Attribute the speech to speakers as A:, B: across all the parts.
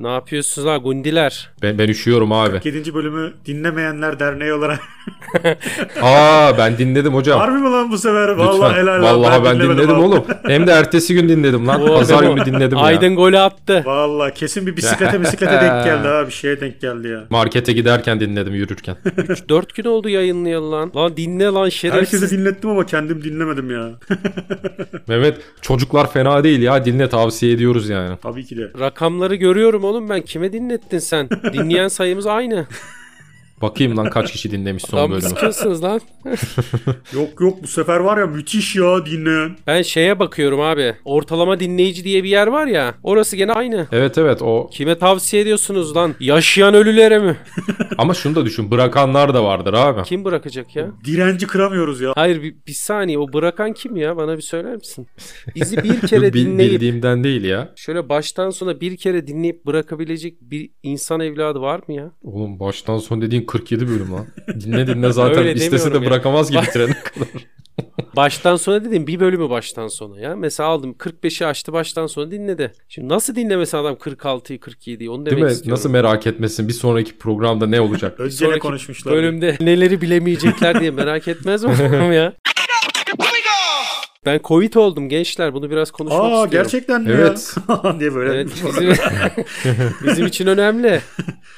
A: Ne yapıyorsunuz ha gundiler?
B: Ben, ben üşüyorum abi.
C: 7. bölümü dinlemeyenler derneği olarak.
B: Aa ben dinledim hocam.
C: Harbi mi lan bu sefer?
B: Lütfen.
C: Vallahi helal lan,
B: Vallahi ben,
C: dinlemedim
B: dinledim
C: abi.
B: oğlum. Hem de ertesi gün dinledim lan.
A: Oo,
B: Pazar
A: Memo.
B: günü dinledim ya.
A: Aydın golü attı.
C: Vallahi kesin bir bisiklete bisiklete denk geldi ha. Bir şeye denk geldi ya.
B: Markete giderken dinledim yürürken.
A: 4 gün oldu yayınlayalı lan. Lan dinle lan şerefsiz.
C: Herkese dinlettim ama kendim dinlemedim ya.
B: Mehmet çocuklar fena değil ya dinle tavsiye ediyoruz yani.
C: Tabii ki de.
A: Rakamları görüyorum oğlum ben. Kime dinlettin sen? Dinleyen sayımız aynı.
B: Bakayım lan kaç kişi dinlemiş son
A: Lan
B: bölümü.
A: sıkıyorsunuz lan.
C: Yok yok bu sefer var ya müthiş ya dinleyen.
A: Ben şeye bakıyorum abi. Ortalama dinleyici diye bir yer var ya. Orası gene aynı.
B: Evet evet o
A: Kime tavsiye ediyorsunuz lan? Yaşayan ölülere mi?
B: ama şunu da düşün bırakanlar da vardır abi.
A: Kim bırakacak ya?
C: Direnci kıramıyoruz ya.
A: Hayır bir, bir saniye o bırakan kim ya? Bana bir söyler misin? Bizi bir
B: Bil-
A: kere dinleyip
B: bildiğimden değil ya.
A: şöyle baştan sona bir kere dinleyip bırakabilecek bir insan evladı var mı ya?
B: Oğlum baştan son dediğin 47 bölüm lan. Dinle dinle zaten
A: Öyle
B: istese de
A: demiyorum ya.
B: bırakamaz gibi trene kadar.
A: Baştan sona dedim bir bölümü baştan sona ya. Mesela aldım 45'i açtı baştan sona dinledi. Şimdi nasıl dinlemesin adam 46'yı 47'yi onu demek
B: Değil mi?
A: istiyorum.
B: Nasıl merak etmesin bir sonraki programda ne olacak?
C: Önce ne
A: Sonraki
C: konuşmuşlar.
A: bölümde neleri bilemeyecekler diye merak etmez mi adam ya? Ben Covid oldum gençler bunu biraz konuşmak
C: Aa
A: istiyorum.
C: gerçekten mi
B: Evet.
C: ya? diye böyle.
A: Evet, bizim, bizim için önemli.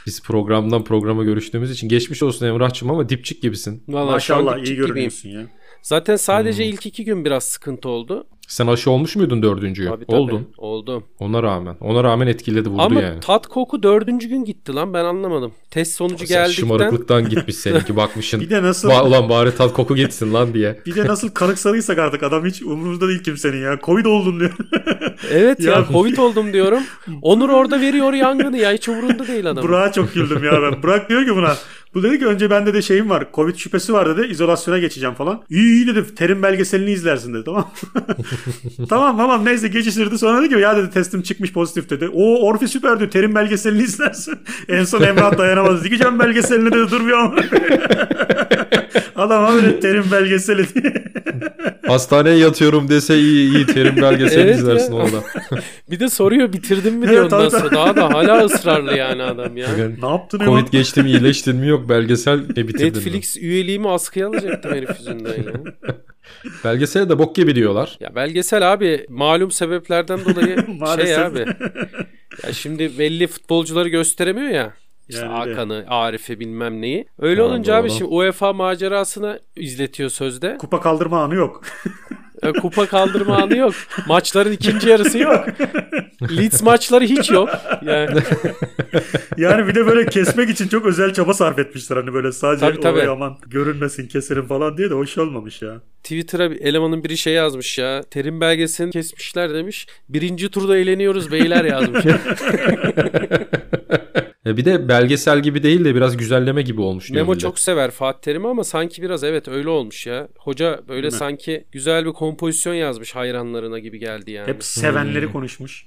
B: Biz programdan programa görüştüğümüz için geçmiş olsun Emrah'cığım ama dipçik gibisin.
A: Vallahi şu an
C: Maşallah iyi
A: dipçik gibiyim.
C: görünüyorsun ya.
A: Zaten sadece
B: Hmm.
A: ilk iki gün biraz sıkıntı oldu.
B: Sen aşı olmuş muydun dördüncüyü?
A: Tabii, tabii.
B: Oldun.
A: Oldum.
B: Ona rağmen. Ona rağmen etkiledi vurdu
A: Ama
B: yani.
A: tat koku dördüncü gün gitti lan ben anlamadım. Test sonucu
B: Sen
A: geldikten
B: Şımarıklıktan gitmiş seninki bakmışsın.
C: Bir de nasıl
B: "Va- ulan bari tat koku gitsin lan diye.
C: bir de nasıl kanıksadıysak artık adam hiç umurunda değil kimsenin ya. Covid oldun diyor.
A: Evet ya,
C: Ya-
A: Covid oldum diyorum. Onur orada veriyor yangını ya hiç umurunda değil adam.
C: Burak'a çok güldüm ya ben. Burak diyor ki buna. Bu dedi ki önce bende de şeyim var. Covid şüphesi var dedi. izolasyona geçeceğim falan. İyi iyi dedi. Terim belgeselini izlersin dedi. Tamam. tamam tamam neyse geçiştirdi. Sonra dedi ki ya dedi testim çıkmış pozitif dedi. O Orfi süper diyor. Terim belgeselini izlersin. en son Emrah dayanamadı. Dikeceğim belgeselini dedi. Durmuyor. Adam abi terim belgeseli diye.
B: Hastaneye yatıyorum dese iyi iyi terim belgeseli
A: Evet
B: izlersin
A: ya.
B: orada.
A: Bir de soruyor bitirdin mi
C: Evet,
A: diyor ondan
C: tabii,
A: sonra. Daha da hala ısrarlı yani adam ya.
B: Yani
C: ne yaptın Emrah?
B: Covid geçti mi iyileştin mi yok belgesel ne bitirdin mi?
A: Netflix üyeliğimi askıya alacaktım herif yüzünden ya.
B: Belgesele de bok gibi diyorlar.
A: Ya belgesel abi malum sebeplerden dolayı şey
C: Maalesef.
A: abi. Ya şimdi belli futbolcuları gösteremiyor ya. İşte
C: Yani de.
A: Hakan'ı, Arif'i bilmem neyi. Öyle
B: Ha,
A: olunca abi
B: doğru.
A: şimdi UEFA macerasını izletiyor sözde.
C: Kupa kaldırma anı yok.
A: E, Kupa kaldırma anı yok. Maçların ikinci yarısı yok. Leeds maçları hiç yok. Yani
C: Yani bir de böyle kesmek için çok özel çaba sarf etmişler hani böyle sadece
A: Tabii, tabii.
C: oraya aman görünmesin keserim falan diye de hoş olmamış ya.
A: Twitter'a bir elemanın biri şey yazmış ya. Terim belgesini kesmişler demiş. Birinci turda eğleniyoruz beyler yazmış.
B: E bir de belgesel gibi değil de biraz güzelleme gibi olmuş. diyor
A: Memo
B: millet.
A: çok sever Fatih Terim'i ama sanki biraz evet öyle olmuş ya. Hoca böyle
C: mi?
A: sanki güzel bir kompozisyon yazmış hayranlarına gibi geldi yani.
C: Hep sevenleri konuşmuş.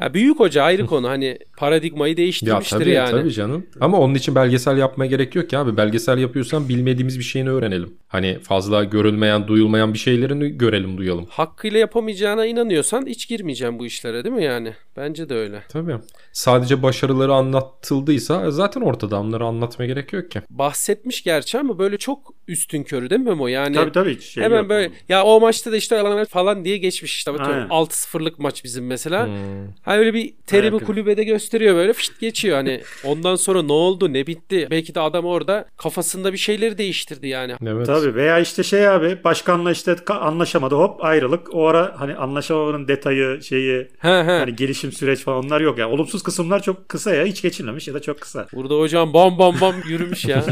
A: Ya büyük hoca ayrı konu hani paradigmayı
B: ya
A: değiştirmiştir
B: tabii,
A: yani.
B: tabii canım. Ama onun için belgesel yapmaya gerek yok ki abi. Belgesel yapıyorsan bilmediğimiz bir şeyini öğrenelim. Hani fazla görülmeyen, duyulmayan bir şeylerini görelim, duyalım.
A: Hakkıyla yapamayacağına inanıyorsan hiç girmeyeceğim bu işlere değil mi yani? Bence de öyle.
B: Tabii. Sadece başarıları anlatıldıysa zaten ortada onları anlatmaya gerek yok ki.
A: Bahsetmiş gerçi ama böyle çok üstün körü değil mi Memo? Yani
C: tabii tabii hiç şey
A: Hemen
C: yok.
A: böyle ya o maçta da işte yalanlar falan diye geçmiş işte. Atıyorum
C: Aynen.
A: 6-0'lık maç bizim mesela.
B: Hmm.
A: Ha öyle bir terimi
C: Evet, evet.
A: kulübede gösteriyor böyle fışt geçiyor hani. Ondan sonra ne oldu ne bitti. Belki de adam orada kafasında bir şeyleri değiştirdi yani.
B: Evet.
C: Tabii veya işte şey abi başkanla işte ka- anlaşamadı hop ayrılık. O ara hani anlaşamamanın detayı şeyi
A: He he.
C: hani gelişim süreç falan onlar yok ya. Olumsuz kısımlar çok kısa ya hiç geçilmemiş ya da çok kısa.
A: Burada hocam bam bam bam yürümüş ya.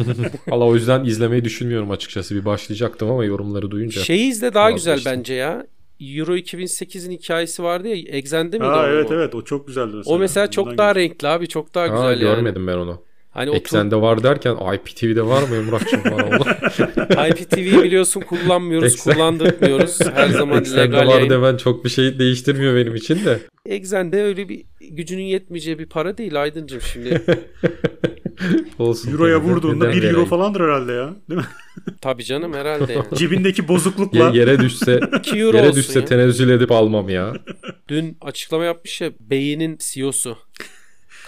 B: Valla o yüzden izlemeyi düşünmüyorum açıkçası. Bir başlayacaktım ama yorumları duyunca.
A: Şeyi izle daha güzel
B: Vazgeçtim.
A: bence ya. Euro 2008'in hikayesi vardı ya. Exxen'de miydi o?
C: Aa, evet
A: o?
C: evet o çok güzeldi mesela.
A: O mesela
C: Bundan
A: çok daha renkli abi. Çok daha güzel
B: Aa,
A: yani.
B: görmedim ben onu.
A: Hani otur
B: Eksende var derken IPTV'de var mı Emrah'cığım? Var oğlum.
A: IPTV'yi biliyorsun kullanmıyoruz,
B: Eksen.
A: kullandırmıyoruz. Her zaman
B: Eksende
A: legal
B: var
A: yayın.
B: demen çok bir şey değiştirmiyor benim için de.
A: Exxen'de öyle bir gücünün yetmeyeceği bir para değil Aydıncım şimdi.
B: Olsun.
C: Euro'ya
B: Neden-
C: vurduğunda
B: neden
C: 1 euro
B: vereyim?
C: falandır herhalde ya. Değil mi?
A: Tabii canım herhalde yani.
C: Cebindeki bozuklukla.
B: Ye- yere düşse
A: İki euro
B: yere
A: olsun
B: düşse
A: ya.
B: tenezzül edip almam ya.
A: Dün açıklama yapmış ya beynin CEO'su. E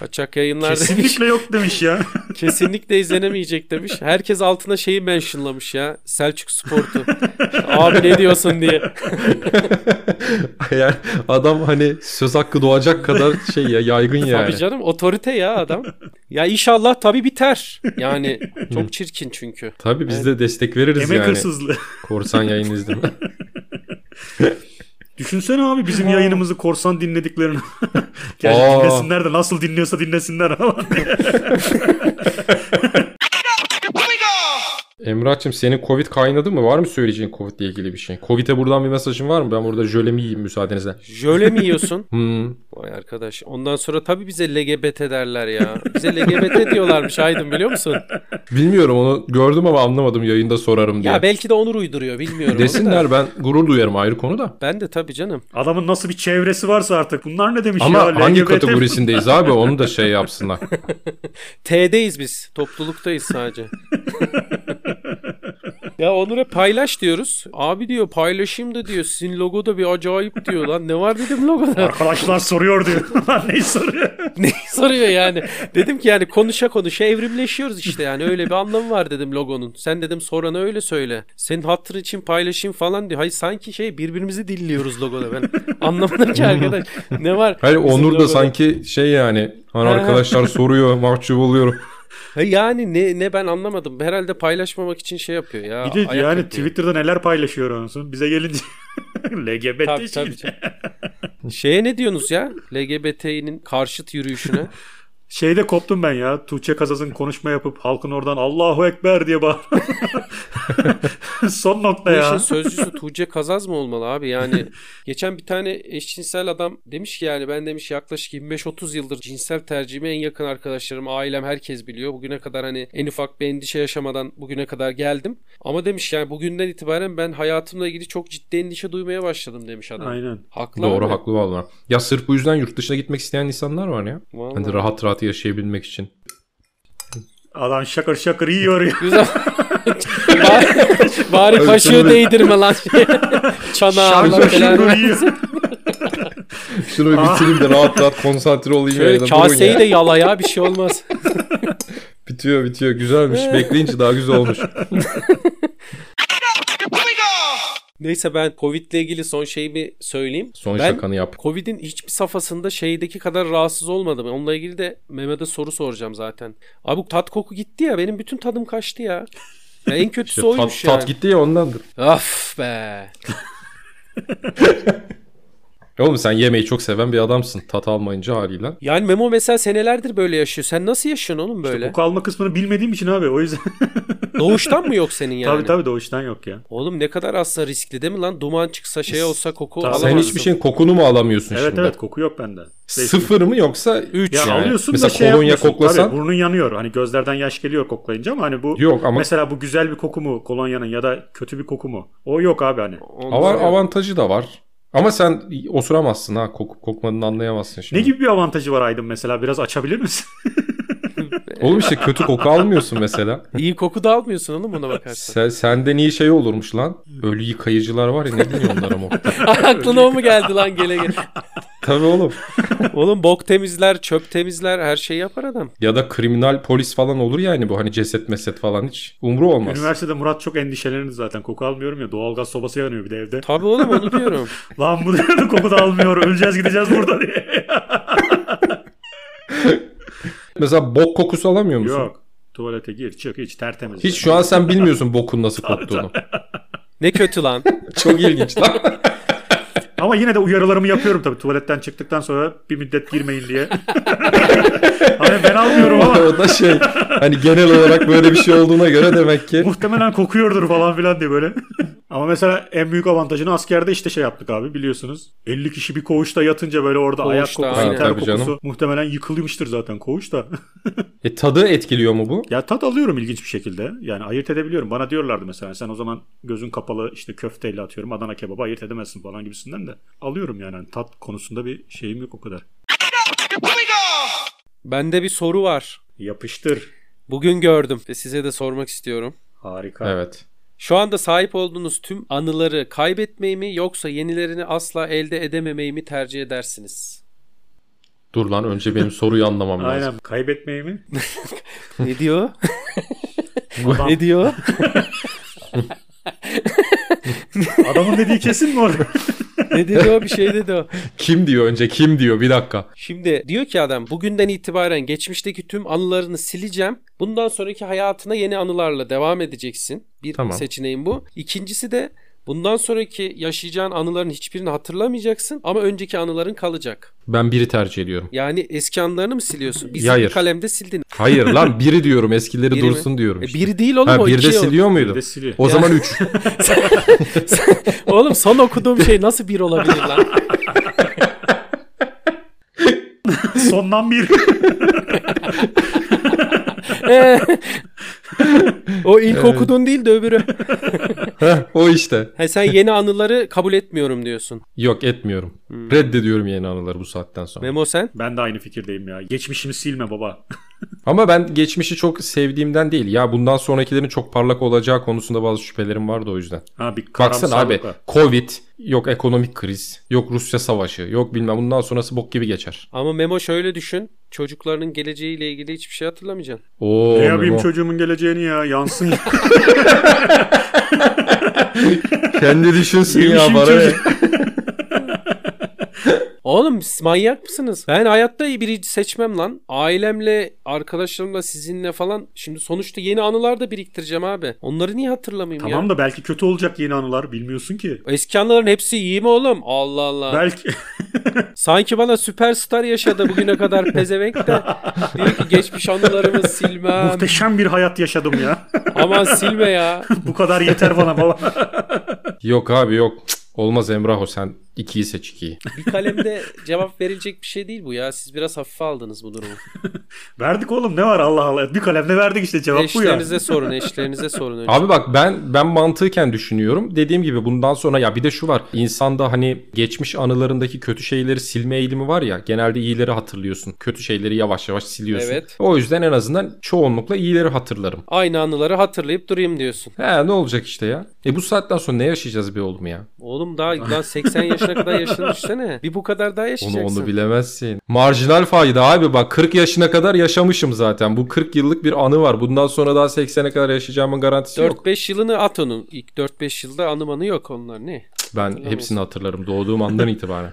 A: Kaçak yayınlar demiş.
C: Kesinlikle yok demiş ya.
A: Kesinlikle izlenemeyecek demiş. Herkes altına şeyi mentionlamış ya. Selçuk Sport'u. Abi ne diyorsun diye.
B: Yani adam hani söz hakkı doğacak kadar şey ya yaygın yani.
A: Tabii canım otorite ya adam. Ya inşallah tabii biter. Yani çok çirkin çünkü.
B: Tabii biz de destek veririz
C: Emek
B: yani.
C: hırsızlığı.
B: Korsan yayın izleme.
C: Düşünsene abi bizim yayınımızı korsan dinlediklerini. yani
B: Aa.
C: dinlesinler de nasıl dinliyorsa dinlesinler falan.
B: Emrah'cığım senin Covid kaynadı mı? Var mı söyleyeceğin Covid ile ilgili bir şey? Covid'e buradan bir mesajın var mı? Ben burada jölemi yiyeyim müsaadenizle.
A: Jöle mi yiyorsun?
B: Hmm.
A: Vay arkadaş. Ondan sonra tabii bize LGBT derler ya. Bize LGBT diyorlarmış Aydın biliyor musun?
B: Bilmiyorum onu gördüm ama anlamadım yayında sorarım diye.
A: Ya belki de Onur uyduruyor bilmiyorum. onu da.
B: Desinler ben gurur duyarım ayrı konu da.
A: Ben de tabii canım.
C: Adamın nasıl bir çevresi varsa artık. Bunlar ne demiş
B: Ama
C: ya?
B: hangi
C: LGBT
B: kategorisindeyiz abi onu da şey yapsınlar.
A: T'deyiz biz. Topluluktayız sadece. ya Onur'a paylaş diyoruz. Abi diyor paylaşayım da diyor. Sizin logo da bir acayip diyor lan. Ne var dedim logoda.
C: Arkadaşlar soruyor diyor. Lan neyi soruyor?
A: ne soruyor yani. Dedim ki yani konuşa konuşa evrimleşiyoruz işte yani. Öyle bir anlamı var dedim logonun. Sen dedim sorana öyle söyle. Senin hatırın için paylaşayım falan diyor. Hayır sanki şey birbirimizi dilliyoruz logoda ben. Anlamadım ki arkadaş. Ne var?
B: Hayır
A: bizim
B: Onur da
A: logoda?
B: sanki şey yani hani
A: Ha.
B: arkadaşlar soruyor mahcup oluyorum.
A: Ha Yani ne ne ben anlamadım. Herhalde paylaşmamak için şey yapıyor ya.
C: Bir de
A: ayak
C: yani
A: yapıyor.
C: Twitter'da neler paylaşıyor onun Bize gelince LGBT
A: Tabii,
C: şey.
A: tabii, tabii. Şeye ne diyorsunuz ya? LGBT'nin karşıt yürüyüşüne.
C: Şeyde koptum ben ya. Tuğçe Kazaz'ın konuşma yapıp halkın oradan Allahu Ekber diye bağır. Son nokta
A: Bu
C: ya.
A: işin sözcüsü Tuğçe Kazaz mı olmalı abi? Yani geçen bir tane eşcinsel adam demiş ki yani ben demiş yaklaşık 25-30 yıldır cinsel tercihimi en yakın arkadaşlarım, ailem herkes biliyor. Bugüne kadar hani en ufak bir endişe yaşamadan bugüne kadar geldim. Ama demiş yani bugünden itibaren ben hayatımla ilgili çok ciddi endişe duymaya başladım demiş adam.
C: Aynen.
A: Haklı
B: Doğru
A: abi.
B: haklı valla. Ya sırf bu yüzden yurt dışına gitmek isteyen insanlar var ya.
A: Vallahi.
B: Hani rahat rahat yaşayabilmek için.
C: Adam şakır şakır yiyor ya.
A: Güzel. bari, bari
B: Tabii
A: kaşığı
B: canım.
A: değdirme lan. Çanağı
C: şakır
A: lan
C: şakır
A: falan.
C: yiyor.
B: Şunu bir bitireyim de rahat rahat konsantre olayım.
A: Şöyle
B: yayına. Durun
A: kaseyi
B: ya.
A: de yala ya bir şey olmaz.
B: Bitiyor bitiyor güzelmiş. Bekleyince daha güzel olmuş.
A: Neyse ben Covid'le ilgili son şeyimi söyleyeyim.
B: Son
A: ben
B: şakanı yap.
A: Covid'in hiçbir safhasında şeydeki kadar rahatsız olmadım. Onunla ilgili de Mehmet'e soru soracağım zaten. Abi bu tat koku gitti ya benim bütün tadım kaçtı ya. Ya en kötüsü
B: İşte tat,
A: oymuş yani.
B: tat gitti ya ondandır.
A: Af be.
B: Oğlum sen yemeği çok seven bir adamsın. Tat almayınca haliyle.
A: Yani Memo mesela senelerdir böyle yaşıyor. Sen nasıl yaşıyorsun oğlum böyle?
C: Koku alma kısmını bilmediğim için abi o yüzden.
A: Doğuştan mı yok senin yani?
C: tabii tabii doğuştan yok ya.
A: Oğlum ne kadar aslında riskli değil mi lan? Duman çıksa şey olsa koku
C: Tabii.
B: Sen
A: alamazsın.
B: hiçbir şey- şeyin kokunu mu alamıyorsun
C: Evet
B: şimdi?
C: evet koku yok bende.
B: Sıfır mı yoksa üç
C: Ya
B: yani.
C: alıyorsun
B: Mesela
C: da şey
B: kolonya
C: yapmıyorsun.
B: koklasan
C: Tabii burnun yanıyor. Hani gözlerden yaş geliyor koklayınca ama hani bu
B: Yok ama-
C: mesela bu güzel bir koku mu kolonyanın ya da kötü bir koku mu? O yok abi hani.
A: Ondan
B: ava-
A: sonra-
B: avantajı da var. Ama sen osuramazsın ha. Kokup kokmadığını anlayamazsın
C: Ne
B: şimdi.
C: gibi bir avantajı var Aydın mesela? Biraz açabilir misin?
B: Oğlum işte kötü koku almıyorsun mesela.
A: İyi koku da almıyorsun oğlum buna bakarsan.
B: Sen, senden iyi şey olurmuş lan. Ölü yıkayıcılar var ya ne deniyor onlara mokta.
A: Aklına o mu geldi lan gele gele.
B: Tabii oğlum.
A: Oğlum bok temizler, çöp temizler her şeyi yapar adam.
B: Ya da kriminal polis falan olur yani bu hani ceset meset falan hiç umru olmaz.
C: Üniversitede Murat çok endişelenirdi zaten. Koku almıyorum ya. Doğalgaz sobası yanıyor bir de evde.
A: Tabii oğlum onu diyorum.
C: Lan bu diyordu koku da almıyor. Öleceğiz gideceğiz burada diye.
B: Mesela bok kokusu alamıyor musun?
C: yok. Tuvalete gir çık hiç tertemiz.
B: Hiç şu an sen bilmiyorsun bokun nasıl koktuğunu.
A: Ne kötü lan.
B: Çok ilginç lan.
C: Ama yine de uyarılarımı yapıyorum tabii. Tuvaletten çıktıktan sonra bir müddet girmeyin diye. hani ben almıyorum ama
B: o da şey hani genel olarak böyle bir şey olduğuna göre demek ki.
C: Muhtemelen kokuyordur falan filan diye böyle. Ama mesela en büyük avantajını askerde işte şey yaptık abi biliyorsunuz. 50 kişi bir koğuşta yatınca böyle orada
A: Koğuşta,
C: ayak kokusu,
A: aynen.
C: ter
B: Tabii
C: kokusu
B: canım.
C: muhtemelen yıkılmıştır zaten koğuşta.
B: E tadı etkiliyor mu bu?
C: ya tat alıyorum ilginç bir şekilde. Yani ayırt edebiliyorum. Bana diyorlardı mesela sen o zaman gözün kapalı işte köfteyle atıyorum Adana kebaba ayırt edemezsin falan gibisinden de. Alıyorum yani Hani tat konusunda bir şeyim yok o kadar.
A: Bende bir soru var.
C: Yapıştır.
A: Bugün gördüm ve size de sormak istiyorum.
C: Harika.
B: Evet.
A: Şu anda sahip olduğunuz tüm anıları kaybetmeyi mi yoksa yenilerini asla elde edememeyi mi tercih edersiniz?
B: Dur lan önce benim soruyu anlamam lazım.
C: Aynen kaybetmeyi mi?
A: ne diyor?
C: Adam-
A: ne diyor?
C: Adamın dediği kesin mi orada?
A: ne dedi o? Bir şey dedi o.
B: Kim diyor önce kim diyor bir dakika.
A: Şimdi diyor ki adam bugünden itibaren geçmişteki tüm anılarını sileceğim. Bundan sonraki hayatına yeni anılarla devam edeceksin. Bir
B: Tamam.
A: seçeneğin bu. İkincisi de bundan sonraki yaşayacağın anıların hiçbirini hatırlamayacaksın ama önceki anıların kalacak.
B: Ben biri tercih ediyorum.
A: Yani eski anılarını mı siliyorsun? Bir
B: Ya hayır.
A: sil- kalemde sildin.
B: Hayır lan biri diyorum eskileri
A: Biri mi?
B: dursun diyorum.
A: E,
B: Işte.
A: biri değil oğlum
B: ha,
A: o
B: bir de
A: iki o.
B: siliyor
C: Bir
B: muydu?
C: de siliyor.
B: O zaman 3.
A: oğlum son okuduğum şey nasıl bir olabilir lan?
C: Sondan bir.
A: o ilk okuduğun değil de öbürü.
B: o işte.
A: Ha, sen yeni anıları kabul etmiyorum diyorsun.
B: Yok etmiyorum.
C: Hmm.
B: Reddediyorum yeni anıları bu saatten sonra.
A: Memo sen?
C: Ben de aynı fikirdeyim ya. Geçmişimi silme baba.
B: Ama ben geçmişi çok sevdiğimden değil. Ya bundan sonrakilerin çok parlak olacağı konusunda bazı şüphelerim vardı o yüzden.
C: Ha bir
B: Baksana abi
C: karamsarlık var.
B: Covid, yok ekonomik kriz, yok Rusya savaşı, yok bilmem bundan sonrası bok gibi geçer.
A: Ama Memo şöyle düşün. Çocuklarının geleceğiyle ilgili hiçbir şey hatırlamayacaksın.
B: Oo,
C: Ne yapayım
B: Memo.
C: çocuğumun geleceğini ya yansın.
B: Kendi düşünsün ya
C: Yemişim
B: bana. ne?
C: çocuğu.
A: Oğlum siz manyak mısınız? Ben hayatta birinci seçmem lan. Ailemle, arkadaşlarımla, sizinle falan. Şimdi sonuçta yeni anılar da biriktireceğim abi. Onları niye hatırlamayayım ya?
C: tamam da belki kötü olacak yeni anılar bilmiyorsun ki.
A: Eski anıların hepsi iyi mi oğlum? Allah Allah.
C: Belki
A: Sanki bana süperstar yaşadı bugüne kadar pezevenk de. Diyor ki geçmiş anılarımı silmem.
C: muhteşem bir hayat yaşadım ya.
A: Aman silme ya.
C: Bu kadar yeter bana baba.
B: Yok abi yok. Cık, Olmaz Emrah o sen 2'yi seç 2'yi.
A: Bir kalemde cevap verilecek bir şey değil bu ya. Siz biraz hafife aldınız bu durumu.
C: Verdik oğlum ne var Allah Allah. Bir kalemle verdik işte cevap bu ya.
A: Eşlerinize sorun, eşlerinize sorun önce.
B: Abi bak ben ben mantıken düşünüyorum. Dediğim gibi bundan sonra ya bir de şu var. İnsanda hani geçmiş anılarındaki kötü şeyleri silme eğilimi var ya. Genelde iyileri hatırlıyorsun. Kötü şeyleri yavaş yavaş siliyorsun.
A: Evet.
B: O yüzden en azından çoğunlukla iyileri hatırlarım.
A: Aynı anıları hatırlayıp durayım diyorsun.
B: He ne olacak işte ya. E bu saatten sonra ne yaşayacağız be oğlum ya?
A: Oğlum daha lan 80 yaşına kadar yaşını düşsene. Bir bu kadar daha
B: Onu
A: yaşayacaksın.
B: onu bilemezsin. Marjinal fayda abi bak 40 yaşına kadar yaşamışım zaten. Bu 40 yıllık bir anı var. Bundan sonra daha 80'e kadar yaşayacağımın garantisi yok.
A: 4-5 yılını at onun. İlk 4-5 yılda anı manı yok onlar ne?
B: Ben hepsini hatırlarım doğduğum andan itibaren.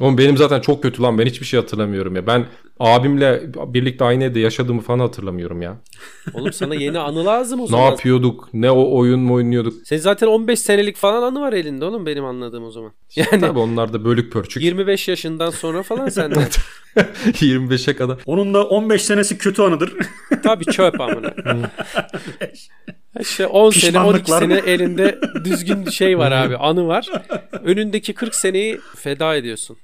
B: Oğlum benim zaten çok kötü lan ben hiçbir şey hatırlamıyorum ya. Ben abimle birlikte aynı evde yaşadığımı falan hatırlamıyorum ya.
A: Oğlum sana yeni anı lazım o
B: Ne
A: zaman.
B: yapıyorduk? Ne o oyun mu oynuyorduk?
A: Senin zaten 15 senelik falan anı var elinde oğlum benim anladığım o zaman. Yani
B: Tabii onlar da bölük pörçük.
A: 25 yaşından sonra falan senden.
B: 25'e kadar.
C: Onun da 15 senesi kötü anıdır.
A: Tabii çöp amına. İşte 10 sene 12
C: Pişmanlıklar.
A: sene elinde düzgün şey var abi anı var. Önündeki 40 seneyi feda ediyorsun.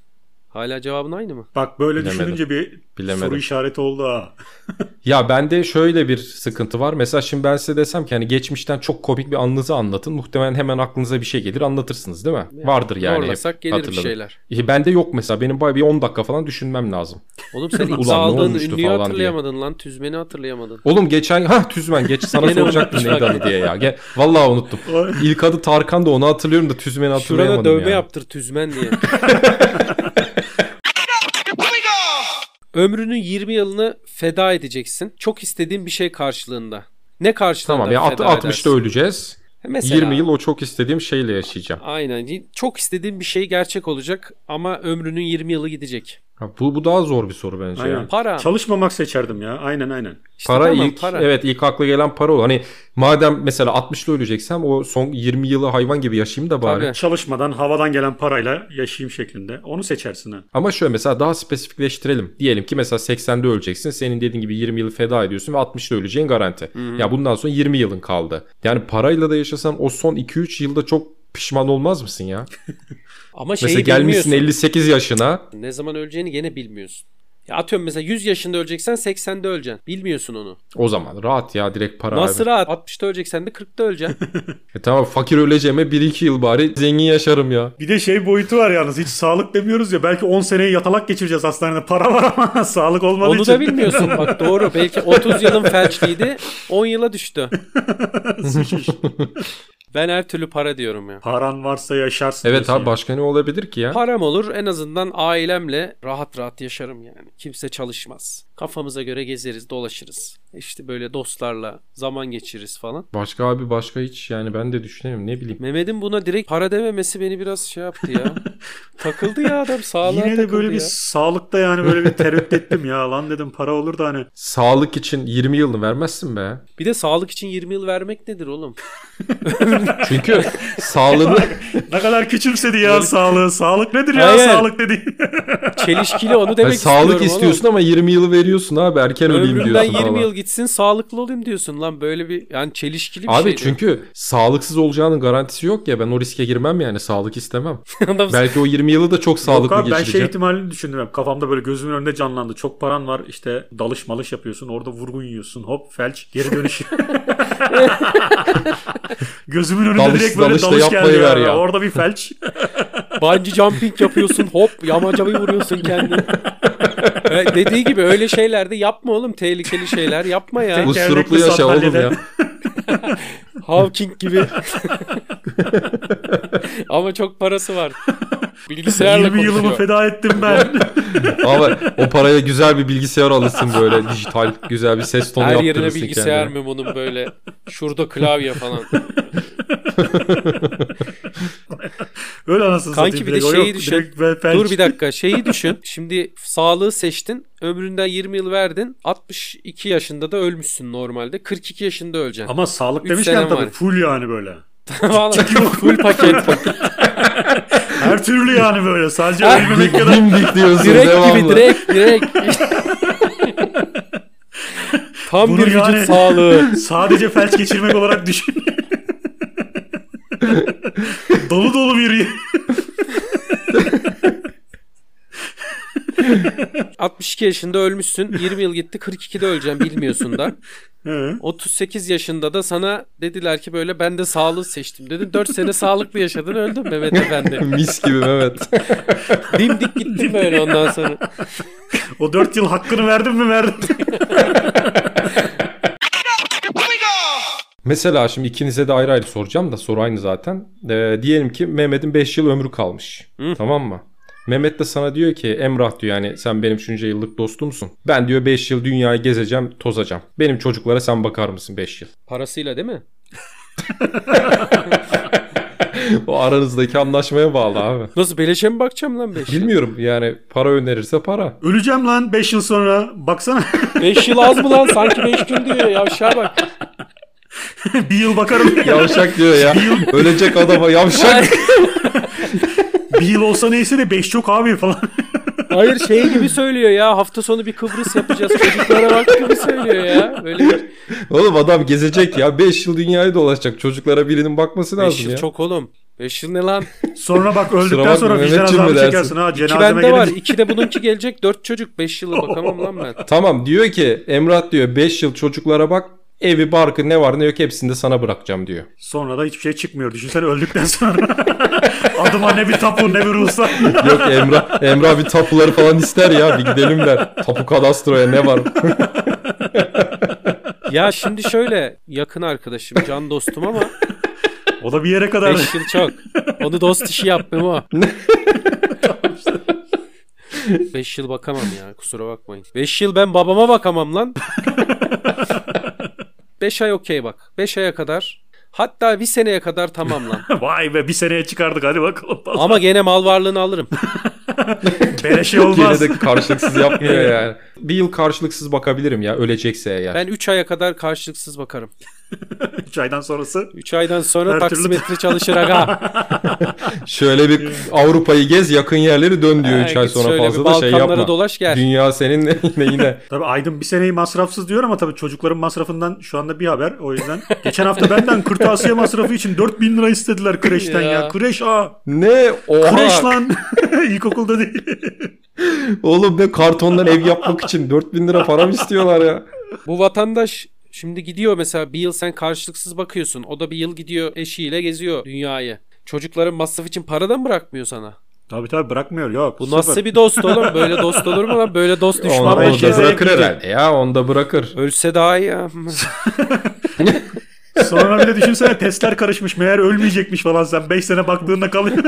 A: Hala cevabın aynı mı?
C: Bak böyle
B: Bilemedim.
C: düşününce bir
B: Bilemedim.
C: soru işareti oldu ha.
B: Ya bende şöyle bir sıkıntı var. Mesela şimdi ben size desem ki hani geçmişten çok komik bir anınızı anlatın. Muhtemelen hemen aklınıza bir şey gelir anlatırsınız değil mi? Vardır yani. hep
A: Zorlasak gelir bir
B: hatırladım.
A: şeyler.
B: E, bende yok mesela. Benim bayağı bir 10 dakika falan düşünmem lazım.
A: Oğlum sen
B: Ulan
A: imza
B: ne
A: aldığın
B: olmuştu
A: ünlüyü
B: falan
A: hatırlayamadın lan. Tüzmeni hatırlayamadın.
B: Oğlum geçen ha Tüzmen geç sana
A: Gene
B: soracaktım
A: unutmuş
B: neydi
A: bak.
B: adı diye ya. Ge- Vallahi unuttum. İlk adı Tarkan da onu hatırlıyorum da Tüzmen'i
A: Şurada
B: hatırlayamadım
A: dövme
B: ya.
A: yaptır Tüzmen diye. Ömrünün 20 yılını feda edeceksin. Çok istediğin bir şey karşılığında. Ne karşılığında
B: Tamam ya at-
A: feda
B: 60'ta
A: edersin?
B: öleceğiz.
A: Mesela-
B: 20 yıl o çok istediğim şeyle yaşayacağım.
A: Aynen. Çok istediğin bir şey gerçek olacak ama ömrünün 20 yılı gidecek.
B: Ha, bu bu daha zor bir soru bence ya.
C: Aynen.
A: Para.
C: Çalışmamak seçerdim ya. Aynen aynen.
A: İşte
B: para
A: tamam,
B: ilk evet ilk akla gelen para o. Hani madem mesela 60'ta öleceksem o son 20 yılı hayvan gibi yaşayayım da bari.
A: Tabii.
C: Çalışmadan havadan gelen parayla yaşayayım şeklinde. Onu seçersin ha.
B: Ama şöyle mesela daha spesifikleştirelim. Diyelim ki mesela 80'de öleceksin. Senin dediğin gibi 20 yılı feda ediyorsun ve 60'da öleceğin garanti. Ya bundan sonra 20 yılın kaldı. Yani parayla da yaşasan o son 2-3 yılda çok pişman olmaz mısın ya?
A: Ama şeyi
B: mesela gelmişsin
A: bilmiyorsun.
B: 58 yaşına.
A: Ne zaman öleceğini gene bilmiyorsun. Ya atıyorum mesela 100 yaşında öleceksen 80'de öleceksin. Bilmiyorsun onu.
B: O zaman rahat ya direkt para
A: Nasıl
B: abi.
A: rahat? 60'da öleceksen de 40'da öleceksin.
B: E tamam fakir öleceğime 1-2 yıl bari zengin yaşarım ya.
C: Bir de şey boyutu var yalnız. Hiç sağlık demiyoruz ya. Belki 10 seneyi yatalak geçireceğiz hastanede. Para var ama sağlık olmadığı
A: onu
C: için.
A: da bilmiyorsun bak doğru. Belki 30 yılın felçliydi 10 yıla düştü. Ben her türlü para diyorum ya.
C: Paran varsa yaşarsın.
B: Evet
C: diyorsun
B: abi
C: ya.
B: başka ne olabilir ki ya?
A: Param olur en azından ailemle rahat rahat yaşarım yani. Kimse çalışmaz. Kafamıza göre gezeriz, dolaşırız. İşte böyle dostlarla zaman geçiririz falan.
B: Başka abi başka hiç yani ben de düşünemiyorum ne bileyim.
A: Mehmet'in buna direkt para dememesi beni biraz şey yaptı ya. takıldı ya adam sağlığa
C: Yine de
A: takıldı
C: böyle
A: ya.
C: bir sağlıkta yani böyle bir tereddüt ettim ya lan dedim para olur da hani.
B: Sağlık için 20 yılını vermezsin be.
A: Bir de sağlık için 20 yıl vermek nedir oğlum?
B: Çünkü sağlığını
C: Ne kadar küçümsedi ya sağlığı. Sağlık nedir ya
A: Hayır.
C: sağlık dedi.
A: Çelişkili onu
B: Yani
A: demek istiyorum.
B: sağlık istiyorsun ama 20 yılı veriyorsun abi erken
A: oğlum.
B: öleyim
A: Ömrümden
B: diyorsun.
A: 20
B: falan.
A: yıl gitsin sağlıklı olayım diyorsun lan böyle bir yani çelişkili bir
B: Abi
A: şey.
B: çünkü sağlıksız olacağının garantisi yok ya ben o riske girmem yani sağlık istemem.
A: Adam
B: Belki o 20 yılı da çok
C: Yok
B: sağlıklı
C: abi, ben şey
B: geçireceğim.
C: ihtimalini düşündüm. hep. Kafamda böyle gözümün önünde canlandı. Çok paran var işte dalış malış yapıyorsun. Orada vurgun yiyorsun. Hop felç geri dönüş. gözümün önünde
B: Dalış-
C: direkt böyle
B: dalış da
C: dalış geldi ya.
B: yapmayıver ya.
C: Orada bir felç.
A: Bungee jumping yapıyorsun hop yamaca bir vuruyorsun kendini. Ö- Dediği gibi öyle şeyler de yapma oğlum tehlikeli şeyler yapma ya.
C: Bu-
B: Usturuplu
C: Tekerlekli
B: yaşa oğlum
C: sandalyede.
B: ya.
A: Hawking gibi. Ama çok parası var. Bilgisayarla
C: 20
A: konuşuyor.
C: yılımı feda ettim ben.
B: Ama o paraya güzel bir bilgisayar alırsın böyle dijital güzel bir ses tonu
A: Her yerine
B: yaptırırsın
A: bilgisayar
B: kendine.
A: mı bunun böyle? Şurada klavye falan.
C: Öyle anasını
A: Kanki
C: satayım
A: bir de
C: direkt. O
A: şeyi
C: yok,
A: düşün.
C: direkt fel- felç.
A: Dur bir dakika şeyi düşün. Şimdi sağlığı seçtin. Ömründen 20 yıl verdin. 62 yaşında da ölmüşsün normalde. 42 yaşında öleceksin.
C: Ama sağlık
A: Üç
C: demişken
A: senem
C: tabii
A: var.
C: full yani böyle.
A: Vallahi full paket.
C: Her türlü yani böyle. Sadece
A: Her-
C: ölmemek kadar.
B: Dimdik diyorsun
A: Direkt
B: devamlı.
A: gibi direkt direkt. Tam
C: Bunu
A: bir vücut
C: yani-
A: sağlığı.
C: Sadece felç geçirmek olarak düşün. dolu dolu bir
A: 62 yaşında ölmüşsün. 20 yıl gitti. 42'de öleceksin bilmiyorsun da.
C: Hı.
A: 38 yaşında da sana dediler ki böyle ben de sağlığı seçtim dedin. 4 sene sağlıklı yaşadın öldün Mehmet Efendi.
B: Mis gibi Mehmet.
A: Dimdik gittin böyle ondan sonra.
C: O 4 yıl hakkını verdin mi verdin.
B: Mesela şimdi ikinize de ayrı ayrı soracağım da soru aynı zaten. Ee, diyelim ki Mehmet'in 5 yıl ömrü kalmış. Tamam mı? Mehmet de sana diyor ki Emrah diyor yani sen benim şunca yıllık dostumsun. Ben diyor 5 yıl dünyayı gezeceğim tozacağım. Benim çocuklara sen bakar mısın 5 yıl?
A: Parasıyla değil mi?
B: o aranızdaki anlaşmaya bağlı abi.
A: Nasıl beleşe mi bakacağım lan 5 yıl?
B: Bilmiyorum yani para önerirse para.
C: Öleceğim lan 5 yıl sonra. Baksana
A: 5 yıl az mı lan? Sanki 5 gün diyor ya aşağı bak.
C: bir yıl bakarım.
B: Yavşak diyor ya. Ölecek adama yavşak.
C: bir yıl olsa neyse de 5 çok abi falan.
A: Hayır şey gibi söylüyor ya hafta sonu bir Kıbrıs yapacağız çocuklara bak gibi söylüyor ya. Böyle bir
B: Oğlum adam gezecek ya. 5 yıl dünyayı dolaşacak. Çocuklara birinin bakması lazım
A: 5 yıl
B: ya.
A: çok oğlum. 5 yıl ne lan?
C: Sonra bak öldükten
B: bakma,
C: sonra vicdan
B: Mehmetciğim mi
C: azabı
B: dersin?
C: çekersin ha.
A: 2
C: Cenazeme
A: bende var.
C: gelince.
A: 2 de bununki gelecek. 4 çocuk 5 yıla bakamam lan ben.
B: Tamam diyor ki Emrah diyor 5 yıl çocuklara bak. Evi barkı ne var ne yok hepsini de sana bırakacağım diyor.
C: Sonra da hiçbir şey çıkmıyor. Düşünsene öldükten sonra. Adıma ne bir tapu ne bir ruhsat.
B: Yok Emrah, Emrah bir tapuları falan ister ya bir gidelim der. Tapu kadastroya ne var?
A: Ya şimdi şöyle yakın arkadaşım, can dostum ama
C: O da bir yere kadar.
A: 5 yıl çok. Onu dost işi yapmam o. 5 yıl bakamam ya kusura bakmayın. 5 yıl ben babama bakamam lan. 5 ay okey bak. 5 aya kadar hatta bir seneye kadar tamam lan.
C: Vay be bir seneye çıkardık hadi bakalım.
A: Ama gene mal varlığını alırım.
C: Beleşe
B: Yine
C: olmaz.
B: de karşılıksız yapmıyor yani. Bir yıl karşılıksız bakabilirim ya ölecekse eğer.
A: Ben 3 aya kadar karşılıksız bakarım.
C: 3 aydan sonrası.
A: 3 aydan sonra
C: Her türlü-
A: taksimetre çalışır aga.
B: Şöyle bir Avrupa'yı gez yakın yerleri dön diyor 3
A: Ha,
B: ay
A: git
B: sonra
A: şöyle
B: fazla
A: bir
B: da şey
A: Balkanlara
B: yapma.
A: dolaş gel.
B: Dünya senin yine yine.
C: Tabii Aydın bir seneyi masrafsız diyor ama tabii çocukların masrafından şu anda bir haber. O yüzden geçen hafta benden kırtasiye masrafı için 4000 lira istediler kreşten ya.
A: Ya.
C: Kreş aa.
B: Ne? Oha!
C: Kreş lan. İlkokulda değil.
B: Oğlum ne kartondan ev yapmak için 4000 lira para mı istiyorlar ya?
A: Bu vatandaş şimdi gidiyor mesela bir yıl sen karşılıksız bakıyorsun. O da bir yıl gidiyor eşiyle geziyor dünyayı. Çocukların masraf için paradan bırakmıyor sana.
C: Tabii tabii bırakmıyor yok.
A: Bu nasıl bir dost oğlum? Böyle dost olur mu lan? Böyle dost düşman
B: Onu,
A: mı?
B: onu
C: herkese
B: da bırakır
C: gidecek.
B: herhalde ya. Onu da bırakır.
A: Ölse daha iyi. ya.
C: Sonra bir de düşünsene testler karışmış. Meğer ölmeyecekmiş falan sen. 5 sene baktığında kalıyor.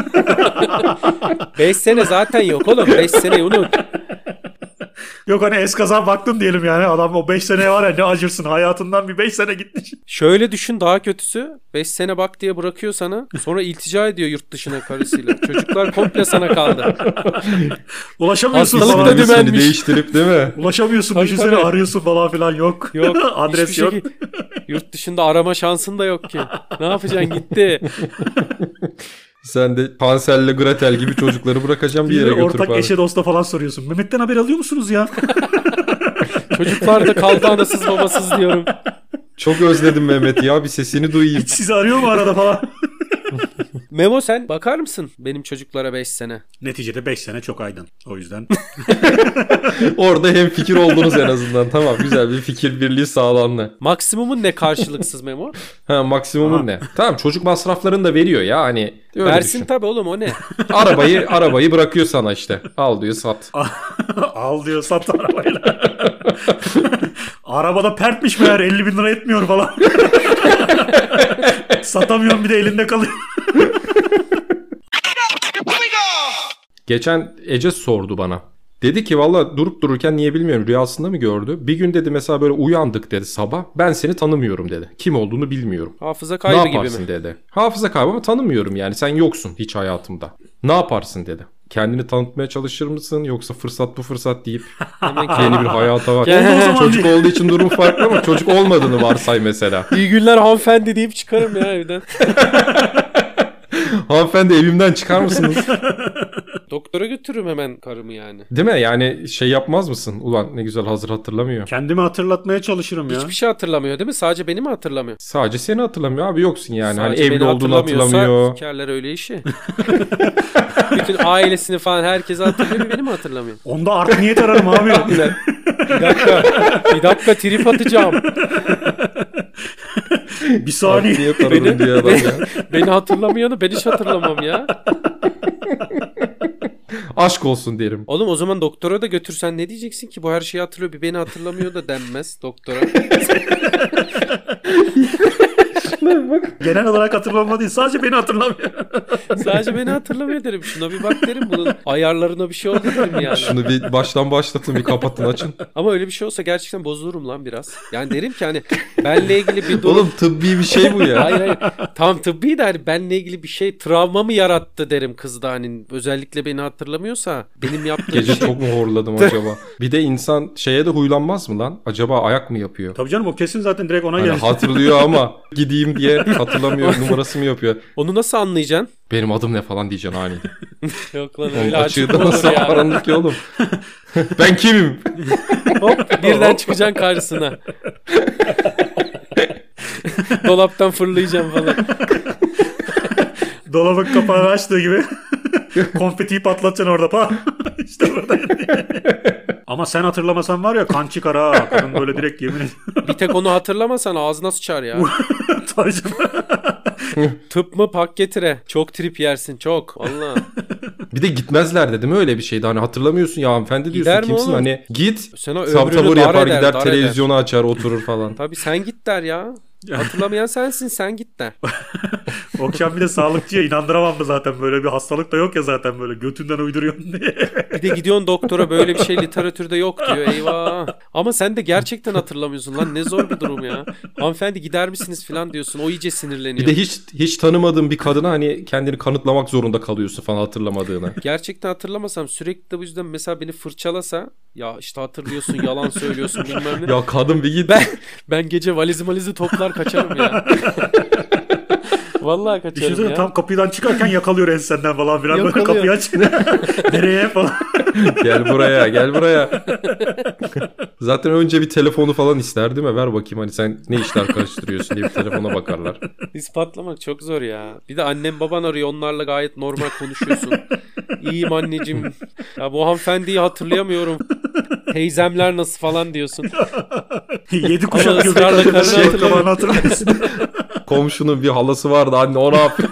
A: 5 sene zaten yok oğlum. 5 seneyi unut.
C: Yok hani eskaza baktım diyelim yani. Adam o 5 seneye var ya ne acırsın. Hayatından bir 5 sene gitmiş.
A: Şöyle düşün daha kötüsü. 5 sene bak diye bırakıyor sana. Sonra iltica ediyor yurt dışına karısıyla. Çocuklar komple sana kaldı.
C: Ulaşamıyorsun
A: Hastalık
C: falan.
A: da dümen-
B: Seni
A: dümenmiş.
B: değiştirip değil mi?
C: Ulaşamıyorsun.
A: Tabii,
C: düşünsene
A: tabii.
C: arıyorsun falan filan yok.
A: Yok.
C: Adres
A: hiçbir
C: yok.
A: şey- yurt dışında arama şansın da yok ki. Ne yapacaksın gitti.
B: Sen de Pansel'le Gretel gibi çocukları bırakacağım bir
C: Bir
B: yere
C: de
B: götürüp
C: ortak
B: abi.
C: eşe dosta falan soruyorsun. Mehmet'ten haber alıyor musunuz ya?
A: Çocuklar da kaldı anasız babasız diyorum.
B: Çok özledim Mehmet ya bir sesini duyayım.
C: Sizi arıyor mu arada falan?
A: Memo sen bakar mısın benim çocuklara 5 sene?
C: Neticede 5 sene çok aydın. O yüzden
B: Orada hem fikir oldunuz en azından. Tamam güzel bir fikir birliği sağlandı.
A: Maksimumun ne karşılıksız Memo?
B: Ha maksimumun
C: Ha.
B: ne? Tamam çocuk masraflarını da veriyor ya hani. Öyle
A: Versin
B: düşün.
A: tabii oğlum o ne?
B: Arabayı arabayı bırakıyor sana işte. Al diyor sat.
C: al diyor sat arabayla. Arabada pertmiş meğer 50 bin lira etmiyor falan. Satamıyorum bir de elinde kalıyor.
B: Geçen Ece sordu bana. Dedi ki valla durup dururken niye bilmiyorum rüyasında mı gördü? Bir gün dedi mesela böyle uyandık dedi sabah. Ben seni tanımıyorum dedi. Kim olduğunu bilmiyorum.
A: Hafıza kaybı
B: ne
A: gibi
B: yaparsın
A: mi?
B: dedi. Hafıza kaybı ama tanımıyorum yani sen yoksun hiç hayatımda. Ne yaparsın dedi. Kendini tanıtmaya çalışır mısın yoksa fırsat bu fırsat deyip
A: Hemen
B: yeni bir hayata bak.
A: Gel.
C: Oldu o zaman
B: çocuk
C: diye.
B: olduğu için durum farklı ama çocuk olmadığını varsay mesela.
A: İyi günler hanımefendi deyip çıkarım ya evden.
B: Hanımefendi evimden çıkar mısınız?
A: Doktora götürürüm hemen karımı yani.
B: Değil mi? Yani şey yapmaz mısın? Ulan ne güzel hazır hatırlamıyor.
C: Kendimi hatırlatmaya çalışırım ya.
A: Hiçbir şey hatırlamıyor değil mi? Sadece beni mi hatırlamıyor?
B: Sadece seni hatırlamıyor abi yoksun yani.
A: Sadece
B: hani evli
A: beni
B: olduğunu
A: hatırlamıyorsa
B: hatırlamıyor.
A: Sikerler öyle işi. Bütün ailesini falan herkesi hatırlıyor beni mi hatırlamıyor?
C: Onda art niyet ararım abi.
A: Bir dakika. Bir dakika trip atacağım.
C: bir
B: Bak
C: saniye.
B: diye tararım diye adam ya.
A: Beni hatırlamayanı ben hiç hatırlamam ya.
B: Aşk olsun derim.
A: Oğlum o zaman doktora da götürsen ne diyeceksin ki? Bu her şeyi hatırlıyor. Bir beni hatırlamıyor da denmez doktora.
C: Genel olarak hatırlanma değil. Sadece beni hatırlamıyor.
A: Sadece beni hatırlamıyor derim. Şuna bir bak derim. Bunun ayarlarına bir şey oldu derim yani.
B: Şunu bir baştan başlatın bir kapatın açın.
A: Ama öyle bir şey olsa gerçekten bozulurum lan biraz. Yani derim ki hani benle ilgili bir durum.
B: Oğlum tıbbi bir şey bu ya.
A: Hayır hayır. Tam tıbbi de hani benle ilgili bir şey travma mı yarattı derim kızda hani özellikle beni hatırlamıyorsa benim yaptığım
B: Gece
A: şey.
B: çok mu horladım acaba? Bir de insan şeye de huylanmaz mı lan? Acaba ayak mı yapıyor?
C: Tabii canım o kesin zaten direkt ona
B: Hani
C: gelir.
B: hatırlıyor ama gideyim diye hatırlamıyor numarası mı yapıyor?
A: Onu nasıl anlayacaksın?
B: Benim adım ne falan diyeceksin ani.
A: Yok lan
B: Oğlum
A: öyle açık mı
B: açığı da
A: olur
B: nasıl
A: ya?
B: arandı ki oğlum? ben kimim?
A: Hop birden çıkacaksın karşısına. Dolaptan fırlayacağım falan.
C: Dolabın kapağını açtığı gibi konfetiyi patlatacaksın orada. Pa. işte burada. Ama sen hatırlamasan var ya kan çıkar ha. Kadın böyle direkt yemin ediyor.
A: Bir tek onu hatırlamasan ağzına sıçar ya.
C: Tabii canım.
A: Tıp mı pak getire. Çok trip yersin çok. Valla.
B: Bir de gitmezler dedim öyle bir şeydi. Hani hatırlamıyorsun ya hanımefendi diyorsun
A: Gider mi
B: kimsin?
A: oğlum?
B: Hani git
A: Sana
B: Tam
A: ömrünü
B: tavır
A: dar
B: yapar
A: eder,
B: gider
A: dar
B: televizyonu açar oturur falan.
A: Tabii sen git der ya. Hatırlamayan sensin sen git der.
C: Okşan bir de sağlıkçıya inandıramam da zaten böyle bir hastalık da yok ya zaten böyle götünden uyduruyorsun diye.
A: Bir de gidiyorsun doktora böyle bir şey literatürde yok diyor eyvah. Ama sen de gerçekten hatırlamıyorsun lan ne zor bir durum ya. Hanımefendi gider misiniz falan diyorsun o iyice
B: Bir
A: sinirleniyor.
B: de hiç hiç tanımadığın bir kadına hani kendini kanıtlamak zorunda kalıyorsun falan hatırlamadığını.
A: Gerçekten hatırlamasam sürekli de bu yüzden mesela beni fırçalasa ya işte hatırlıyorsun yalan söylüyorsun bilmem ne.
B: ya kadın bir git.
A: Ben ben gece valizi malizi toplar kaçarım ya. Vallahi kaçarım
C: Düşünsene
A: Şey ya.
C: tam kapıdan çıkarken yakalıyor ensenden falan filan. Böyle
A: Yakalıyor.
C: kapıyı aç. Nereye falan.
B: gel buraya gel buraya. Zaten önce bir telefonu falan ister değil mi? Ver bakayım hani sen ne işler karıştırıyorsun diye bir telefona bakarlar.
A: İspatlamak çok zor ya. Bir de annem baban arıyor onlarla gayet normal konuşuyorsun. İyiyim anneciğim. Ya bu hanımefendiyi hatırlayamıyorum. Teyzemler nasıl falan diyorsun.
C: Yedi kuşak
A: Ama
C: göbek
A: ısrarla
C: taşıdığını
A: karını
C: şey
A: hatırlamıyor.
C: kafanı hatırlamıyorsun.
B: Komşunun bir halası vardı anne o ne yapıyor?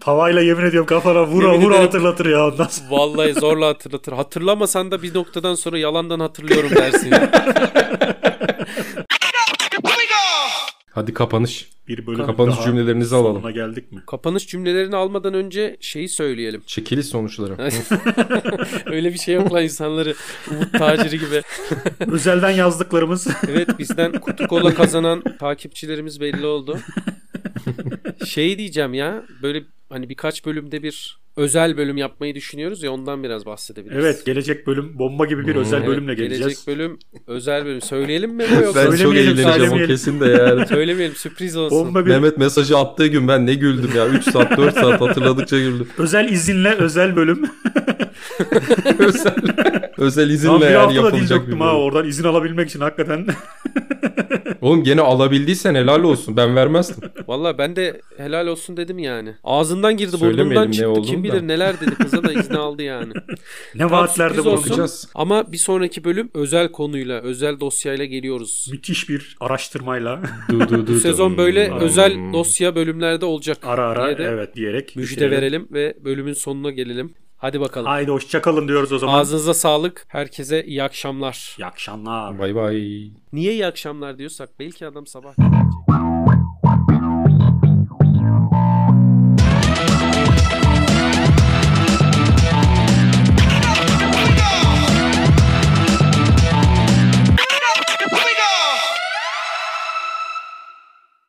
C: Tavayla yemin ediyorum kafana vura
A: Yemin
C: vura
A: ederim.
C: hatırlatır ya ondan sonra.
A: Vallahi zorla hatırlatır. Hatırlamasan da bir noktadan sonra yalandan hatırlıyorum dersin. ya.
B: Hadi kapanış.
C: Bir bölüm
B: Kapanış
C: daha
B: cümlelerinizi
C: sonuna
B: alalım.
C: geldik mi?
A: Kapanış cümlelerini almadan önce şeyi söyleyelim.
B: Çekiliş sonuçları.
A: Öyle bir şey yok lan insanları Umut Taciri gibi.
C: Özelden yazdıklarımız.
A: Evet bizden kutu kola kazanan takipçilerimiz belli oldu. Şey diyeceğim ya böyle hani birkaç bölümde bir özel bölüm yapmayı düşünüyoruz ya ondan biraz bahsedebiliriz.
C: evet gelecek bölüm bomba gibi bir özel
A: Hmm, Evet,
C: bölümle geleceğiz.
A: Gelecek bölüm özel bölüm. Söyleyelim mi bu yoksa?
B: ben çok
C: Söylemeyelim,
B: eğleneceğim o
C: söylemeyelim.
B: kesin de yani.
A: Söylemeyelim sürpriz olsun.
C: Bomba bir
B: Mehmet mesajı attığı gün ben ne güldüm ya. 3 saat 4 saat hatırladıkça güldüm.
C: özel izinle özel bölüm.
B: özel, özel
C: Tam
B: izinle
C: bir
B: yani
C: hafta da dil
B: yapılacak bir
C: döktüm ha
B: bölüm.
C: oradan izin alabilmek için hakikaten.
B: Oğlum gene alabildiysen helal olsun. Ben vermezdim.
A: Valla ben de helal olsun dedim yani. Ağzından girdi
B: Söylemeyelim
A: burnundan
B: ne
A: çıktı.
B: olduğunu
A: Kim
B: da.
A: bilir neler dedi kıza da izni aldı yani.
C: ne vaatlerde
A: sürpriz olsun.
C: bulunduk.
B: Bakacağız.
A: Ama bir sonraki bölüm özel konuyla, özel dosyayla geliyoruz.
C: Müthiş bir araştırmayla
B: Du, du,
A: Bu
B: du,
A: sezon
B: du.
A: böyle
B: Hmm.
A: özel dosya bölümlerde olacak.
C: ara ara
A: diye de
C: evet diyerek.
A: Müjde
C: bitirelim.
A: verelim ve bölümün sonuna gelelim. Hadi bakalım.
C: Haydi hoşçakalın diyoruz o zaman.
A: Ağzınıza sağlık. Herkese iyi akşamlar.
C: İyi akşamlar.
B: Bay bay.
A: Niye iyi akşamlar diyorsak belki adam sabah gelecek.